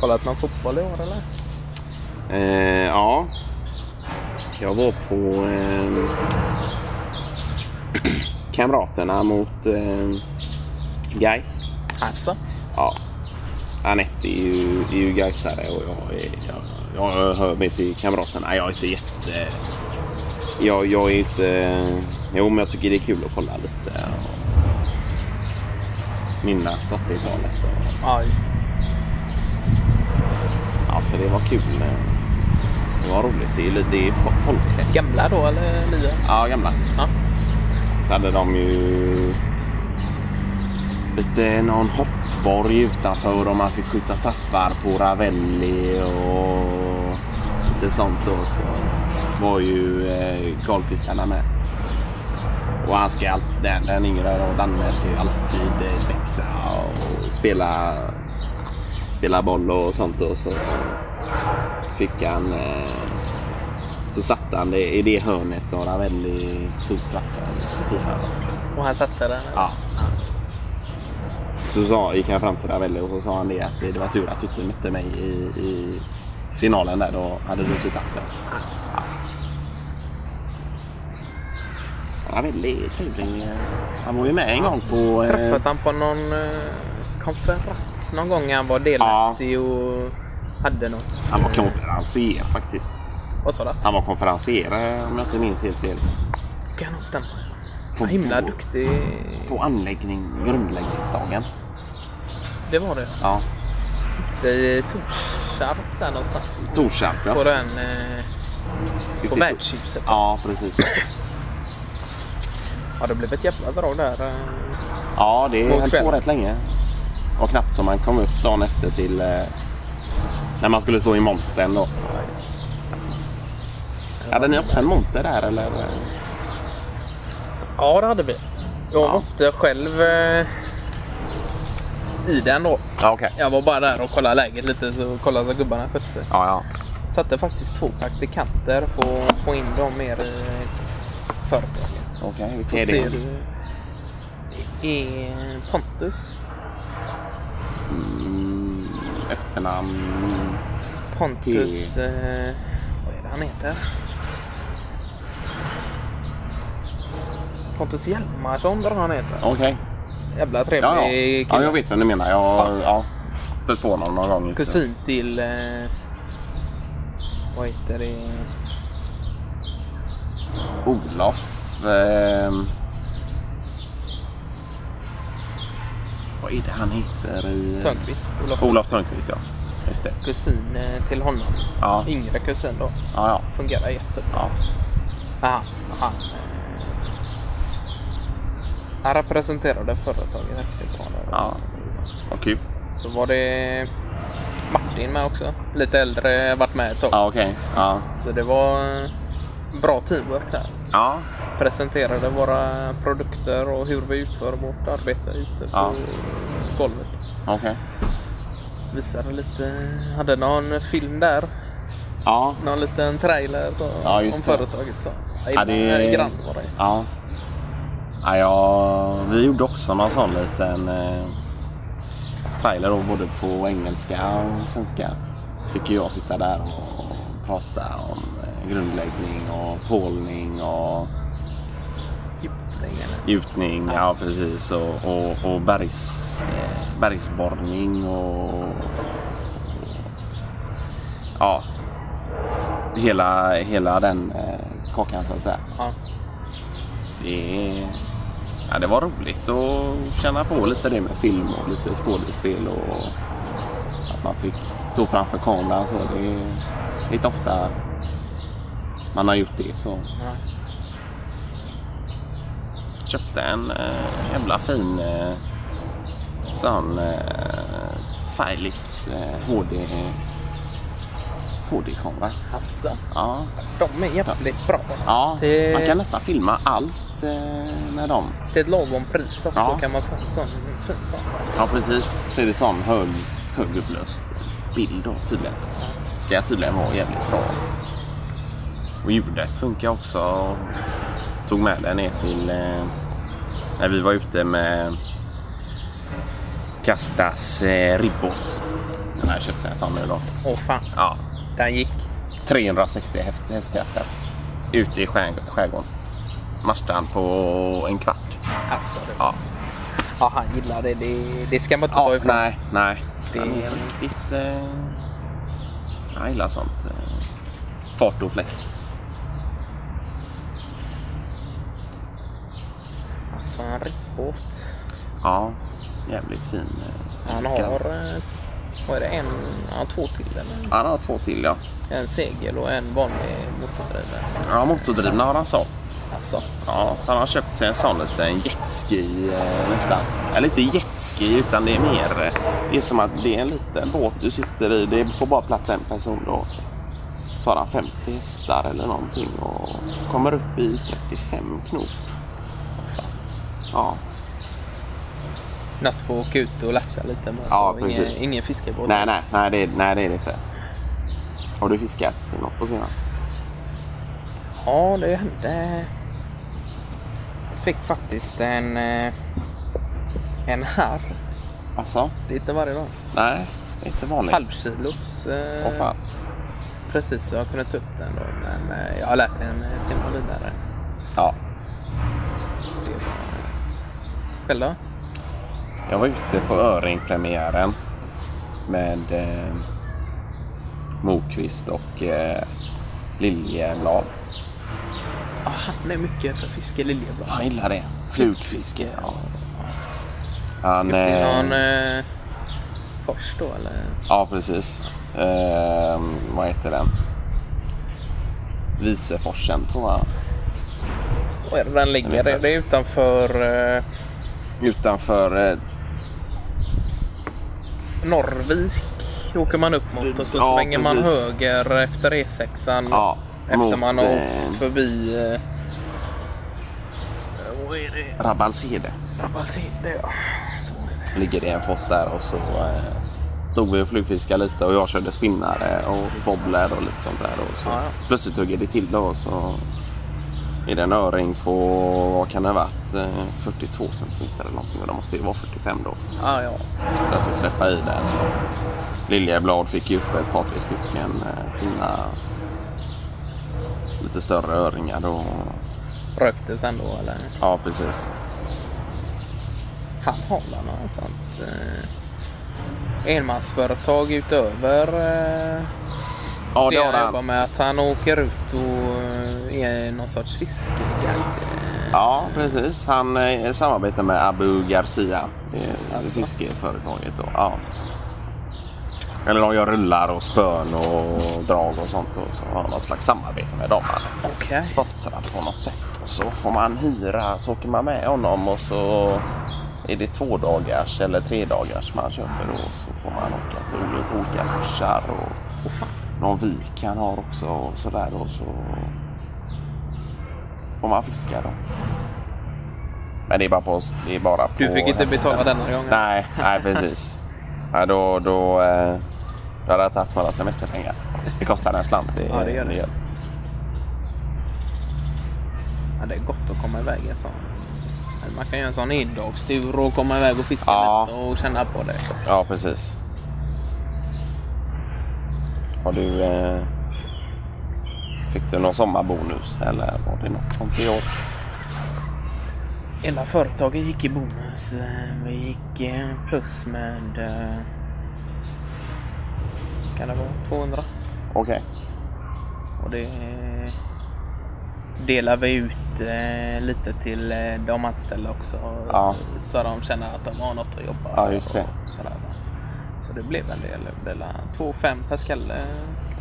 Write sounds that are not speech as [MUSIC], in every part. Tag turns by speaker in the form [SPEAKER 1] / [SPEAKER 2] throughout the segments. [SPEAKER 1] Kollat någon fotboll i år eller?
[SPEAKER 2] Eh, ja. Jag var på eh, [CLEARS THROAT] Kamraterna mot eh, Gais.
[SPEAKER 1] Alltså.
[SPEAKER 2] Ja. Anette är ju, är ju Gaisare och jag, är, jag, jag hör mig till Kamraterna. Jag är inte jätte... Jag, jag är inte... Jo, men jag tycker det är kul att kolla lite. och Minnas 80-talet. och-
[SPEAKER 1] Ja, just det.
[SPEAKER 2] Alltså det var kul. Det var roligt. Det är, li- det är fo- folkfest.
[SPEAKER 1] Gamla då eller nya?
[SPEAKER 2] Ja, gamla.
[SPEAKER 1] Ja.
[SPEAKER 2] Så hade de ju lite någon hoppborg utanför och man fick skjuta straffar på Ravelli och lite sånt då. Så var ju eh, Karlqvistarna med. Och han ska alltid, den, den yngre då, Danne ska ju alltid eh, spexa och spela, spela boll och sånt då. Så fick han eh, så satte han det i det hörnet som Ravelli tog straffen. på fyra.
[SPEAKER 1] Och han satte den? eller?
[SPEAKER 2] Ja. Så sa, gick han fram till Ravelli och så sa han det att det var tur att du inte mötte mig i, i finalen där. Då hade du inte tagit den. Ja. Ravelli är trevlig. Han var ju med en gång på... eh,
[SPEAKER 1] Träffat han på någon eh, konferens någon gång när han var delaktig och hade något?
[SPEAKER 2] Han var konferencier faktiskt.
[SPEAKER 1] Vad sa du?
[SPEAKER 2] Han var konferencier eh, om jag inte minns helt fel.
[SPEAKER 1] Kan nog stämma. Vad himla duktig.
[SPEAKER 2] På anläggning, grundläggningsdagen.
[SPEAKER 1] Det var det.
[SPEAKER 2] Ja.
[SPEAKER 1] Ute i Torsarp där någonstans.
[SPEAKER 2] Torshamn ja.
[SPEAKER 1] På den... eh,
[SPEAKER 2] Ute
[SPEAKER 1] På
[SPEAKER 2] i Tor-
[SPEAKER 1] värdshuset.
[SPEAKER 2] Ja, precis.
[SPEAKER 1] Ja, det blev ett jävla drag där. eh.
[SPEAKER 2] Ja, det
[SPEAKER 1] Mot
[SPEAKER 2] höll på
[SPEAKER 1] kvällen.
[SPEAKER 2] rätt länge. Och knappt som man kom upp dagen efter till eh, när man skulle stå i montern då. Hade ni också en monter där eller?
[SPEAKER 1] Ja, det hade vi. Jag
[SPEAKER 2] Ja.
[SPEAKER 1] var inte själv eh, i den då.
[SPEAKER 2] Ja, okej.
[SPEAKER 1] Jag var bara där och kollade läget lite, så kollade så gubbarna skötte sig.
[SPEAKER 2] Ja, ja.
[SPEAKER 1] Satte faktiskt två praktikanter för att få in dem mer i företaget.
[SPEAKER 2] Okej, vilka
[SPEAKER 1] Får
[SPEAKER 2] är
[SPEAKER 1] se
[SPEAKER 2] det?
[SPEAKER 1] hur det är Pontus.
[SPEAKER 2] Mm, efternamn?
[SPEAKER 1] Pontus... Eh, vad är det han heter? Pontus Hjalmarsson tror jag han heter.
[SPEAKER 2] Okej.
[SPEAKER 1] Jävla trevlig
[SPEAKER 2] Ja,
[SPEAKER 1] kille.
[SPEAKER 2] ja. ja, jag vet vad ni menar. Jag har ja, stött på honom någon gång. ute.
[SPEAKER 1] kusin till... Eh, vad heter det?
[SPEAKER 2] Olof. ehm, vad är det han heter i...
[SPEAKER 1] Törnqvist. Olof,
[SPEAKER 2] Olof Törnqvist, ja. Just det.
[SPEAKER 1] Kusin eh, till honom.
[SPEAKER 2] Ja.
[SPEAKER 1] Yngre kusin då.
[SPEAKER 2] Ja, ja.
[SPEAKER 1] Fungerar jättebra.
[SPEAKER 2] ja.
[SPEAKER 1] Aha, han, eh, han representerade företaget riktigt bra. Där.
[SPEAKER 2] ja. Vad kul.
[SPEAKER 1] Så var det Martin med också. Lite äldre, varit med ett tag.
[SPEAKER 2] Ja, okej. Ja.
[SPEAKER 1] Så det var eh, bra teamwork där.
[SPEAKER 2] Ja.
[SPEAKER 1] Presenterade våra produkter och hur vi utför vårt arbete ute på
[SPEAKER 2] Ja.
[SPEAKER 1] golvet.
[SPEAKER 2] Okej.
[SPEAKER 1] Visade lite, hade någon film där.
[SPEAKER 2] Ja.
[SPEAKER 1] Någon liten trailer så,
[SPEAKER 2] Ja,
[SPEAKER 1] om
[SPEAKER 2] just det.
[SPEAKER 1] företaget. Så.
[SPEAKER 2] Ja, det-
[SPEAKER 1] Grann var det.
[SPEAKER 2] Ja. ja, ja vi gjorde också någon sån liten eh, trailer då, både på engelska och svenska. Fick ju jag sitta där och, och prata om eh, grundläggning och pålning och
[SPEAKER 1] Djupningen.
[SPEAKER 2] gjutning, ja precis. Och, och, och bergs, eh, bergsborrning och, och... Ja. Hela, hela den eh, kakan så att säga.
[SPEAKER 1] Ja.
[SPEAKER 2] Det, ja, det var roligt att känna på lite det med film och lite skådespel och att man fick stå framför kameran. Så det är inte ofta man har gjort det. Så
[SPEAKER 1] Ja.
[SPEAKER 2] köpte en eh, jävla fin eh, sån eh, Philips eh, HD HD-kamera.
[SPEAKER 1] Alltså,
[SPEAKER 2] Ja.
[SPEAKER 1] de är jävligt bra. Alltså.
[SPEAKER 2] ja,
[SPEAKER 1] Det-
[SPEAKER 2] man kan nästan filma allt eh, med dem.
[SPEAKER 1] Till ett lagom pris också
[SPEAKER 2] Ja.
[SPEAKER 1] kan man få en sån fin kamera.
[SPEAKER 2] Ja, precis. Så är det sån hög, högupplöst bild då tydligen. Ska tydligen vara jävligt bra. Och ljudet funkar också. Tog med den ner till eh, när vi var ute med Kastas eh, ribbåt. Men jag köpte en sån nu då.
[SPEAKER 1] Åh fan,
[SPEAKER 2] Ja.
[SPEAKER 1] den gick.
[SPEAKER 2] 360 häst- hästkrafter. Ute i skär- skärgården. Marschade han på en kvart.
[SPEAKER 1] Alltså, det var...
[SPEAKER 2] Ja.
[SPEAKER 1] ja, han gillar det. Det, det ska man inte ta
[SPEAKER 2] Ja,
[SPEAKER 1] ifrån.
[SPEAKER 2] nej, nej.
[SPEAKER 1] Det-
[SPEAKER 2] Det är riktigt... Eh, jag gillar sånt. Eh, fart och fläkt.
[SPEAKER 1] Alltså, en rippbåt.
[SPEAKER 2] Ja, jävligt fin. eh,
[SPEAKER 1] Han
[SPEAKER 2] lyckad.
[SPEAKER 1] har... eh, Vad är det? En, ja, två till eller?
[SPEAKER 2] Ja, han har två till ja.
[SPEAKER 1] En segel och en vanlig motordrivare.
[SPEAKER 2] Ja, motordrivna har han sålt.
[SPEAKER 1] Alltså,
[SPEAKER 2] Ja, så han har köpt sig en sån liten jetski eh, nästan. Eller inte jetski utan det är mer... eh, Det är som att det är en liten båt du sitter i. Det får bara plats en person då. Så har han 50 hästar eller någonting och kommer upp i 35 knop. Ja,
[SPEAKER 1] något får åka ut och latcha lite. Men alltså,
[SPEAKER 2] Ja,
[SPEAKER 1] ingen,
[SPEAKER 2] precis.
[SPEAKER 1] ingen fiskebåt.
[SPEAKER 2] nej, nej, nej, det, nej det är det inte. Har du fiskat något på senast?
[SPEAKER 1] Ja, det hände. Jag fick faktiskt en... eh, En här.
[SPEAKER 2] Alltså,
[SPEAKER 1] Det är inte varje dag.
[SPEAKER 2] nej, det är inte vanligt.
[SPEAKER 1] Halvkilos. eh,
[SPEAKER 2] Åh, fan.
[SPEAKER 1] Precis, så jag kunde ta upp den då. Men eh, jag har lärt en eh, simma vidare.
[SPEAKER 2] Ja,
[SPEAKER 1] Det var... Själv då?
[SPEAKER 2] Jag var ute på öringpremiären med eh, Mokvist och eh, Liljeblad.
[SPEAKER 1] Ja, han är mycket för fiske liljeblad.
[SPEAKER 2] Han gillar det. Typ. Flugfiske. Ja. Han,
[SPEAKER 1] Upp till
[SPEAKER 2] eh,
[SPEAKER 1] någon eh, fors då eller?
[SPEAKER 2] ja, precis. Eh, vad heter den? Viseforsen tror jag.
[SPEAKER 1] Var är det den ligger? Det det är utanför eh,
[SPEAKER 2] Utanför eh,
[SPEAKER 1] Norrvik. Åker man upp mot och så
[SPEAKER 2] Ja,
[SPEAKER 1] svänger man
[SPEAKER 2] precis.
[SPEAKER 1] höger efter E6an.
[SPEAKER 2] Ja,
[SPEAKER 1] efter
[SPEAKER 2] mot,
[SPEAKER 1] man har
[SPEAKER 2] eh,
[SPEAKER 1] åkt förbi... Eh, vad är det?
[SPEAKER 2] Rabbalshede.
[SPEAKER 1] Rabbalsinde ja. Så är det.
[SPEAKER 2] ligger det en fors där och så eh, stod vi och flugfiskade lite och jag körde spinnare och bobbler och lite sånt där. Och så
[SPEAKER 1] Ja, ja.
[SPEAKER 2] Plötsligt hugger det till då och så är det en öring på, vad kan det ha varit, eh, 42 centimeter eller någonting och det måste ju vara 45 då.
[SPEAKER 1] Ah, ja.
[SPEAKER 2] Så jag fick släppa i den. Liljeblad fick ju upp ett par tre stycken eh, fina lite större öringar då.
[SPEAKER 1] Röktes han då eller?
[SPEAKER 2] Ja precis.
[SPEAKER 1] Han har väl något sånt eh, enmansföretag utöver eh,
[SPEAKER 2] Ja
[SPEAKER 1] det
[SPEAKER 2] det har
[SPEAKER 1] han jobbar
[SPEAKER 2] han.
[SPEAKER 1] med. Att han åker ut och eh, är någon sorts fiskeguide. eh,
[SPEAKER 2] Ja, precis. Han eh, samarbetar med Abu Garcia, eh,
[SPEAKER 1] Alltså.
[SPEAKER 2] fiskeföretaget. Då. Ja. Eller de gör rullar och spön och drag och sånt. Och så har han något slags samarbete med dem. Han
[SPEAKER 1] Okej.
[SPEAKER 2] är sponsrad på något sätt. Och så får man hyra, så åker man med honom och så är det två dagars eller tre dagars man köper. Och så får man åka till olika- olika forsar och
[SPEAKER 1] Åh, fan.
[SPEAKER 2] någon vik han har också och sådär. Och så får man fiska då. Men det är bara på, det är bara på
[SPEAKER 1] Du fick inte
[SPEAKER 2] hästen.
[SPEAKER 1] betala denna gången.
[SPEAKER 2] Nej, nej precis. Ja, då, då, eh, då hade jag inte haft några semesterpengar. Det kostar en slant. Det,
[SPEAKER 1] Ja, det gör det. Ja, det är gott att komma iväg en sån. Man kan göra en sån endagstur och komma iväg och fiska
[SPEAKER 2] Ja.
[SPEAKER 1] lite och känna på det.
[SPEAKER 2] Ja, precis. Har du... Eh, fick du någon sommarbonus eller var det något sånt i år?
[SPEAKER 1] Hela företaget gick i bonus. Eh, Vi gick eh, plus med... eh, Kan det vara 200?
[SPEAKER 2] Okej.
[SPEAKER 1] Och det eh, delar vi ut eh, lite till eh, de anställda också.
[SPEAKER 2] Ja.
[SPEAKER 1] Så de känner att de har något att jobba
[SPEAKER 2] Ja,
[SPEAKER 1] för
[SPEAKER 2] just det.
[SPEAKER 1] och sådär, va. Så det blev en del. Det blev 2,5 per skalle.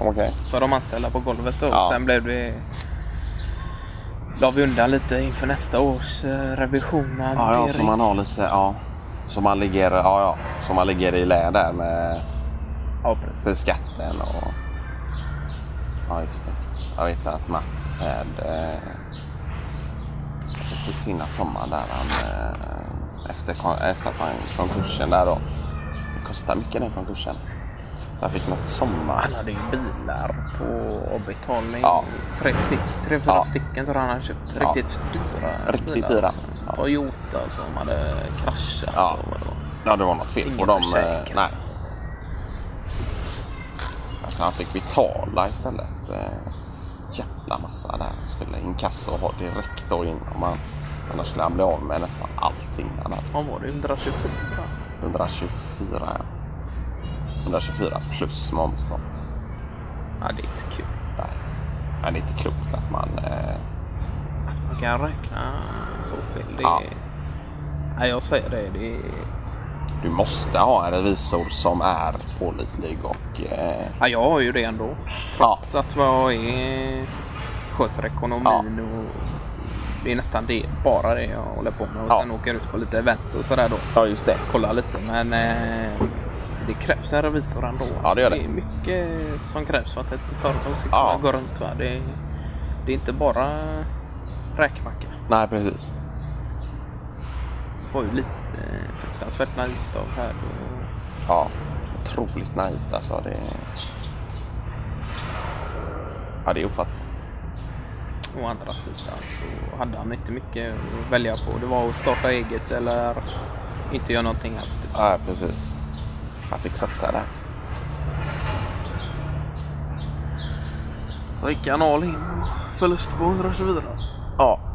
[SPEAKER 2] Okej.
[SPEAKER 1] för de anställda på golvet då.
[SPEAKER 2] Ja.
[SPEAKER 1] Sen blev det... La vi undan lite inför nästa års eh, revision. och
[SPEAKER 2] Ja, ja,
[SPEAKER 1] hantering.
[SPEAKER 2] så man har lite... Ja. Så man ligger, ja, ja, så man ligger i lä där med
[SPEAKER 1] ja precis.
[SPEAKER 2] för skatten och... Ja, just det. Jag vet att Mats här... Eh, precis innan sommaren där han... Eh, efter, kon- efter att han konkursen där då. Det kostar mycket den konkursen. Så han fick något sommar...
[SPEAKER 1] Han hade ju bilar på avbetalning.
[SPEAKER 2] Ja.
[SPEAKER 1] Tre, styck, tre fyra
[SPEAKER 2] Ja.
[SPEAKER 1] stycken tror jag han hade köpt.
[SPEAKER 2] Ja.
[SPEAKER 1] Riktigt dyra
[SPEAKER 2] Riktigt
[SPEAKER 1] bilar
[SPEAKER 2] dyra.
[SPEAKER 1] också.
[SPEAKER 2] Ja.
[SPEAKER 1] Toyota som hade kraschat.
[SPEAKER 2] Ja.
[SPEAKER 1] Och vad det var.
[SPEAKER 2] Ja, det var något fel
[SPEAKER 1] Ingen
[SPEAKER 2] på dem. eh,
[SPEAKER 1] försäkring.
[SPEAKER 2] Nej. så Alltså, han fick betala istället. Eh, jävla massa där. Skulle inkasso ha direkt då in. Om han, annars skulle han bli av med nästan allting han hade.
[SPEAKER 1] Vad var det? 124?
[SPEAKER 2] 124 ja. 124 plus moms då.
[SPEAKER 1] Ja, det är inte kul.
[SPEAKER 2] Nej. Men det är inte klokt att man... Eh,
[SPEAKER 1] Att man kan räkna så fel. Det
[SPEAKER 2] Ja.
[SPEAKER 1] är... Nej, jag säger det. det är...
[SPEAKER 2] du måste ha en revisor som är pålitlig och... Eh,
[SPEAKER 1] ja, jag har ju det ändå.
[SPEAKER 2] ja,
[SPEAKER 1] Så att vad jag är... Sköter ekonomin och... Det är nästan det, bara det jag håller på med. Och
[SPEAKER 2] Ja.
[SPEAKER 1] sen åker jag ut på lite events och sådär då.
[SPEAKER 2] ja, just det.
[SPEAKER 1] Kolla lite men eh, det krävs en revisor ändå.
[SPEAKER 2] Ja, det gör
[SPEAKER 1] Så
[SPEAKER 2] det.
[SPEAKER 1] är mycket som krävs för att ett företag ska kunna
[SPEAKER 2] Ja.
[SPEAKER 1] gå runt. Va? Det, det är inte bara räkmacka.
[SPEAKER 2] Nej, precis.
[SPEAKER 1] Det var ju lite eh, fruktansvärt naivt av här. Och,
[SPEAKER 2] Ja, otroligt naivt alltså. Det... Ja, det är ofattbart.
[SPEAKER 1] å andra sidan så hade han inte mycket att välja på. Det var att starta eget eller inte göra någonting alls. Typ.
[SPEAKER 2] Ja, precis. Han fick satsa där.
[SPEAKER 1] Så gick han all in och förlust på 124.
[SPEAKER 2] Ja,